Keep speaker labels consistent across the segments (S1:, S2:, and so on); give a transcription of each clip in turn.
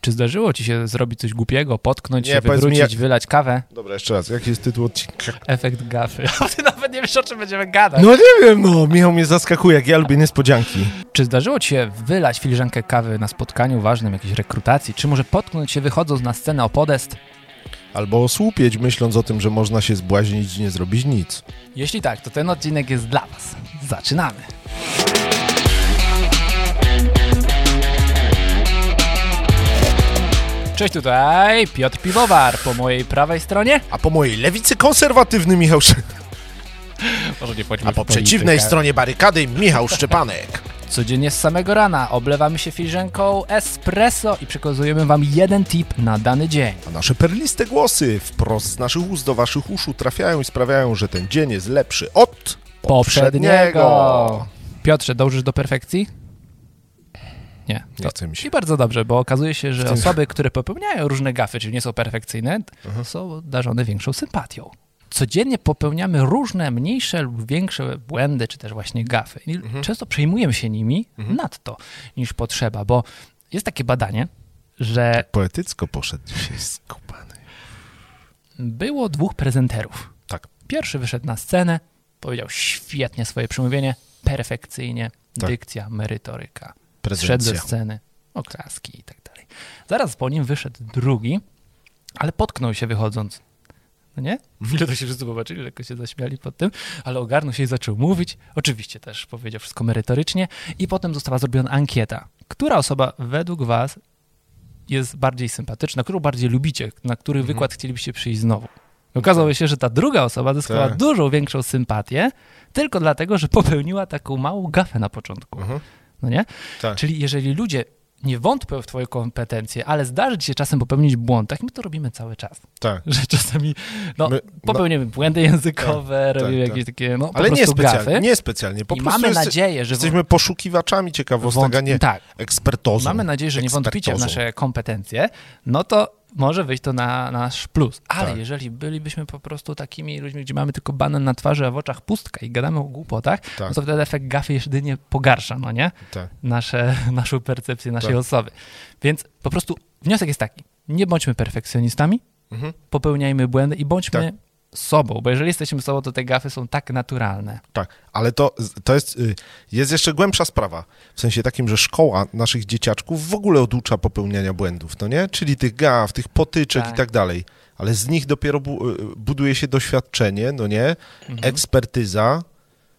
S1: Czy zdarzyło ci się zrobić coś głupiego, potknąć
S2: Nie,
S1: się,
S2: powiedz mi,
S1: wywrócić,
S2: jak-
S1: wylać kawę?
S2: Dobra, jeszcze raz, jaki jest tytuł odcinka?
S1: Efekt gafy. Ty nawet nie wiesz, o czym będziemy gadać.
S2: No nie wiem, no, Michał mnie zaskakuje, jak ja lubię niespodzianki.
S1: Czy zdarzyło ci się wylać filiżankę kawy na spotkaniu ważnym, jakiejś rekrutacji? Czy może potknąć się słuchodząc na scenę o podest?
S2: Albo osłupieć, myśląc o tym, że można się zbłaźnić i nie zrobić nic.
S1: Jeśli tak, to ten odcinek jest dla was. Zaczynamy. Cześć tutaj, Piotr Piwowar po mojej prawej stronie.
S2: A po mojej lewicy konserwatywny Michał Sz...
S1: Może nie
S2: A po przeciwnej stronie barykady Michał Szczepanek.
S1: Codziennie z samego rana oblewamy się filiżanką espresso i przekazujemy wam jeden tip na dany dzień.
S2: A nasze perliste głosy wprost z naszych ust do waszych uszu trafiają i sprawiają, że ten dzień jest lepszy od poprzedniego.
S1: Piotrze, dążysz do perfekcji? Nie.
S2: Nie
S1: To...
S2: chce mi się.
S1: I bardzo dobrze, bo okazuje się, że
S2: tym-
S1: osoby, które popełniają różne gafy, czyli nie są perfekcyjne, są darzone większą sympatią. Codziennie popełniamy różne mniejsze lub większe błędy, czy też właśnie gafy. I
S2: Mhm.
S1: Często przejmujemy się nimi nadto niż potrzeba, bo jest takie badanie, że
S2: Poetycko poszedł dzisiaj skupany.
S1: było dwóch prezenterów.
S2: Tak.
S1: Pierwszy wyszedł na scenę, powiedział świetnie swoje przemówienie, perfekcyjnie,
S2: Tak.
S1: dykcja, merytoryka. Zszedł ze
S2: Prezencja.
S1: sceny, oklaski i tak dalej. Zaraz po nim wyszedł drugi, ale potknął się wychodząc. No nie? Chwilę to się wszyscy zobaczyli, lekko się zaśmiali pod tym, ale ogarnął się i zaczął mówić. Oczywiście też powiedział wszystko merytorycznie i potem została zrobiona ankieta. Która osoba według was jest bardziej sympatyczna, którą bardziej lubicie, na który
S2: Mhm.
S1: wykład chcielibyście przyjść znowu? Okazało się, że ta druga osoba zyskała
S2: Tak.
S1: dużo większą sympatię tylko dlatego, że popełniła taką małą gafę na początku.
S2: Mhm.
S1: No nie?
S2: Tak.
S1: Czyli jeżeli ludzie nie wątpią w twoje kompetencje, ale zdarzy ci się czasem popełnić błąd, tak my to robimy cały czas.
S2: Tak.
S1: Że czasami no,
S2: My-
S1: popełnimy błędy językowe,
S2: tak,
S1: robimy
S2: tak.
S1: jakieś takie no, po
S2: Ale nie
S1: prostu
S2: specjalnie,
S1: gafy.
S2: nie specjalnie. Po
S1: I
S2: prostu
S1: mamy
S2: jeste-
S1: nadzieję, że
S2: jesteśmy poszukiwaczami ciekawostek, a nie
S1: tak,
S2: ekspertozą.
S1: mamy nadzieję, że nie wątpicie w
S2: ekspertozą.
S1: nasze kompetencje, no to może wyjść to na nasz plus. Ale
S2: Tak.
S1: jeżeli bylibyśmy po prostu takimi ludźmi, gdzie mamy tylko banan na twarzy, a w oczach pustka i gadamy o głupotach,
S2: Tak.
S1: no to wtedy efekt gafy jedynie pogarsza, no nie?
S2: Tak.
S1: nasze, naszą percepcję naszej
S2: Tak.
S1: osoby. Więc po prostu wniosek jest taki: nie bądźmy perfekcjonistami,
S2: Mhm. Tak.
S1: popełniajmy błędy i bądźmy sobą, bo jeżeli jesteśmy sobą, to te gafy są tak naturalne.
S2: Tak, ale to, to jest, y, jest jeszcze głębsza sprawa. W sensie takim, że szkoła naszych dzieciaczków w ogóle oducza popełniania błędów, no nie? Czyli tych gaf, tych potyczek
S1: Tak.
S2: i tak dalej. Ale z nich dopiero bu, y, buduje się doświadczenie, no nie?
S1: Mhm.
S2: Ekspertyza,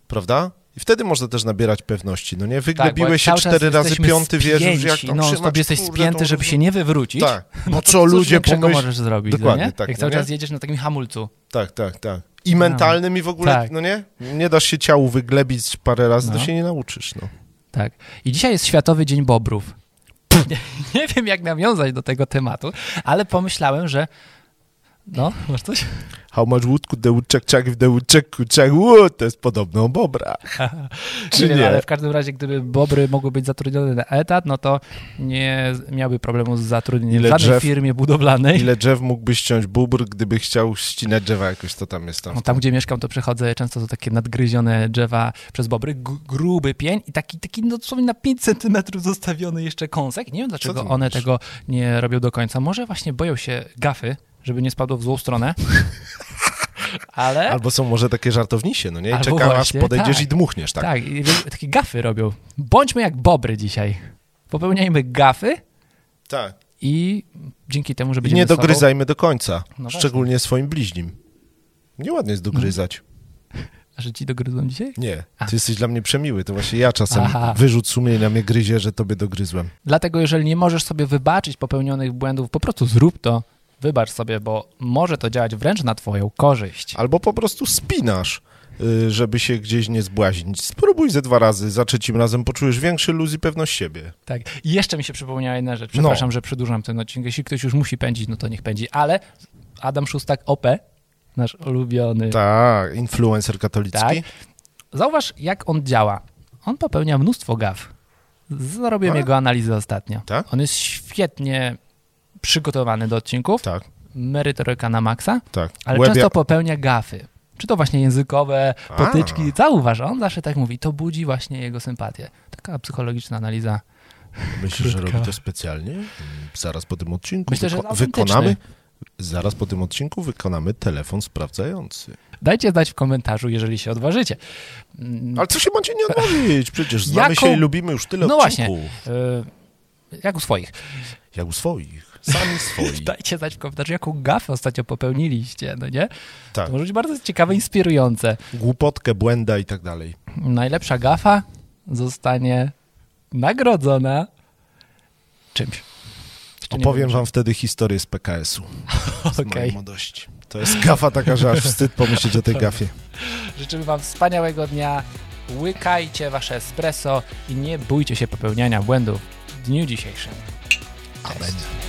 S2: prawda? I wtedy można też nabierać pewności, no nie? Wyglebiłeś
S1: Tak, cały
S2: się
S1: czas
S2: cztery razy
S1: jesteśmy
S2: piąty,
S1: spięci,
S2: wierzysz, jak tam
S1: no,
S2: trzymać,
S1: stop jesteś
S2: kurde,
S1: spięty,
S2: to-
S1: żeby się nie wywrócić.
S2: Tak, bo
S1: No to
S2: co
S1: cóż
S2: ludzie
S1: większego
S2: pomyślą...
S1: możesz zrobić,
S2: Dokładnie,
S1: no nie?
S2: tak,
S1: Jak
S2: no
S1: cały
S2: nie?
S1: czas jedziesz na takim hamulcu.
S2: Tak, tak, tak. I mentalnym i w ogóle,
S1: Tak.
S2: no nie? Nie dasz się ciału wyglebić parę razy,
S1: No.
S2: to się nie nauczysz, no.
S1: Tak. I dzisiaj jest Światowy Dzień Bobrów. Nie, nie wiem, jak nawiązać do tego tematu, ale pomyślałem, że no, masz coś?
S2: How much wood could the woodchuck chuck if the woodchuck could chuck wood? To jest podobno bobra. Czy
S1: nie,
S2: nie?
S1: no, ale w każdym razie, gdyby bobry mogły być zatrudnione na etat, no to nie z- miałby problemu z zatrudnieniem
S2: Ile
S1: w żadnej
S2: drzew?
S1: firmie budowlanej.
S2: Ile drzew mógłby ściąć bóbr, gdyby chciał ścinać drzewa jakoś, to tam jest tam.
S1: No, tam, gdzie mieszkam, to przechodzę, często są takie nadgryzione drzewa przez bobry, g- gruby pień i taki, taki no, dosłownie na 5 centymetrów zostawiony jeszcze kąsek. Nie wiem, dlaczego
S2: ty
S1: one
S2: mówisz?
S1: tego nie robią do końca. Może właśnie boją się gafy, żeby nie spadło w złą stronę. Ale...
S2: Albo są może takie żartownisie, no nie? I
S1: Albo
S2: czeka, aż
S1: właśnie,
S2: podejdziesz
S1: tak.
S2: i dmuchniesz, tak?
S1: Tak, i wie- takie gafy robią. Bądźmy jak bobry dzisiaj. Popełniajmy gafy,
S2: Tak.
S1: i dzięki temu, że
S2: I
S1: będziemy
S2: nie
S1: sobą-
S2: dogryzajmy do końca,
S1: No Mhm.
S2: szczególnie swoim bliźnim. Nieładnie jest dogryzać.
S1: A że ci dogryzłem dzisiaj?
S2: Nie, ty jesteś dla mnie przemiły, to właśnie ja czasem
S1: Aha.
S2: wyrzut sumienia mnie gryzie, że tobie dogryzłem.
S1: Dlatego, jeżeli nie możesz sobie wybaczyć popełnionych błędów, po prostu zrób to, wybacz sobie, bo może to działać wręcz na twoją korzyść.
S2: Albo po prostu spinasz, y, żeby się gdzieś nie zbłaźnić. Spróbuj ze dwa razy, za trzecim razem poczujesz większy luz i pewność siebie.
S1: Tak. I jeszcze mi się przypomniała jedna rzecz.
S2: No.
S1: Przepraszam, że przedłużam ten odcinek. Jeśli ktoś już musi pędzić, no to niech pędzi. Ale Adam Szóstak OP, nasz ulubiony.
S2: Tak, influencer katolicki.
S1: Y. Tak. Zauważ, jak on działa. On popełnia mnóstwo gaf. Zrobiłem
S2: A?
S1: jego analizę ostatnio.
S2: Tak?
S1: On jest świetnie przygotowany do odcinków.
S2: Tak,
S1: Merytoryka na maksa.
S2: tak.
S1: Ale
S2: Łebia-
S1: często popełnia gafy. Czy to właśnie językowe,
S2: A.
S1: potyczki. Zauważ, on zawsze tak mówi. To budzi właśnie jego sympatię. Taka psychologiczna analiza
S2: Myślisz, że
S1: Krótka.
S2: robi to specjalnie? Mm, Zaraz po tym odcinku
S1: Myślę, że
S2: wyko-
S1: autentyczny.
S2: wykonamy. Zaraz po tym odcinku wykonamy telefon sprawdzający.
S1: Dajcie znać w komentarzu, jeżeli się odważycie. Mm,
S2: Ale co się macie nie odmówić? Przecież znamy
S1: Jaką-
S2: się i lubimy już tyle
S1: No właśnie.
S2: odcinków.
S1: y, Jak u swoich.
S2: Jak u swoich. Sami swoi.
S1: Dajcie znać w komentarzu, jaką gafę ostatnio popełniliście, no nie?
S2: tak.
S1: To może być bardzo ciekawe, inspirujące.
S2: Głupotkę, błęda i tak dalej.
S1: Najlepsza gafa zostanie nagrodzona czymś. Jeszcze nie
S2: Opowiem
S1: wiem,
S2: wam wtedy historię z PKS-u. Z
S1: Okej.
S2: mojej młodości. To jest gafa taka, że aż wstyd pomyśleć o tej gafie.
S1: Życzymy Wam wspaniałego dnia. Łykajcie Wasze espresso i nie bójcie się popełniania błędów w dniu dzisiejszym.
S2: Amen.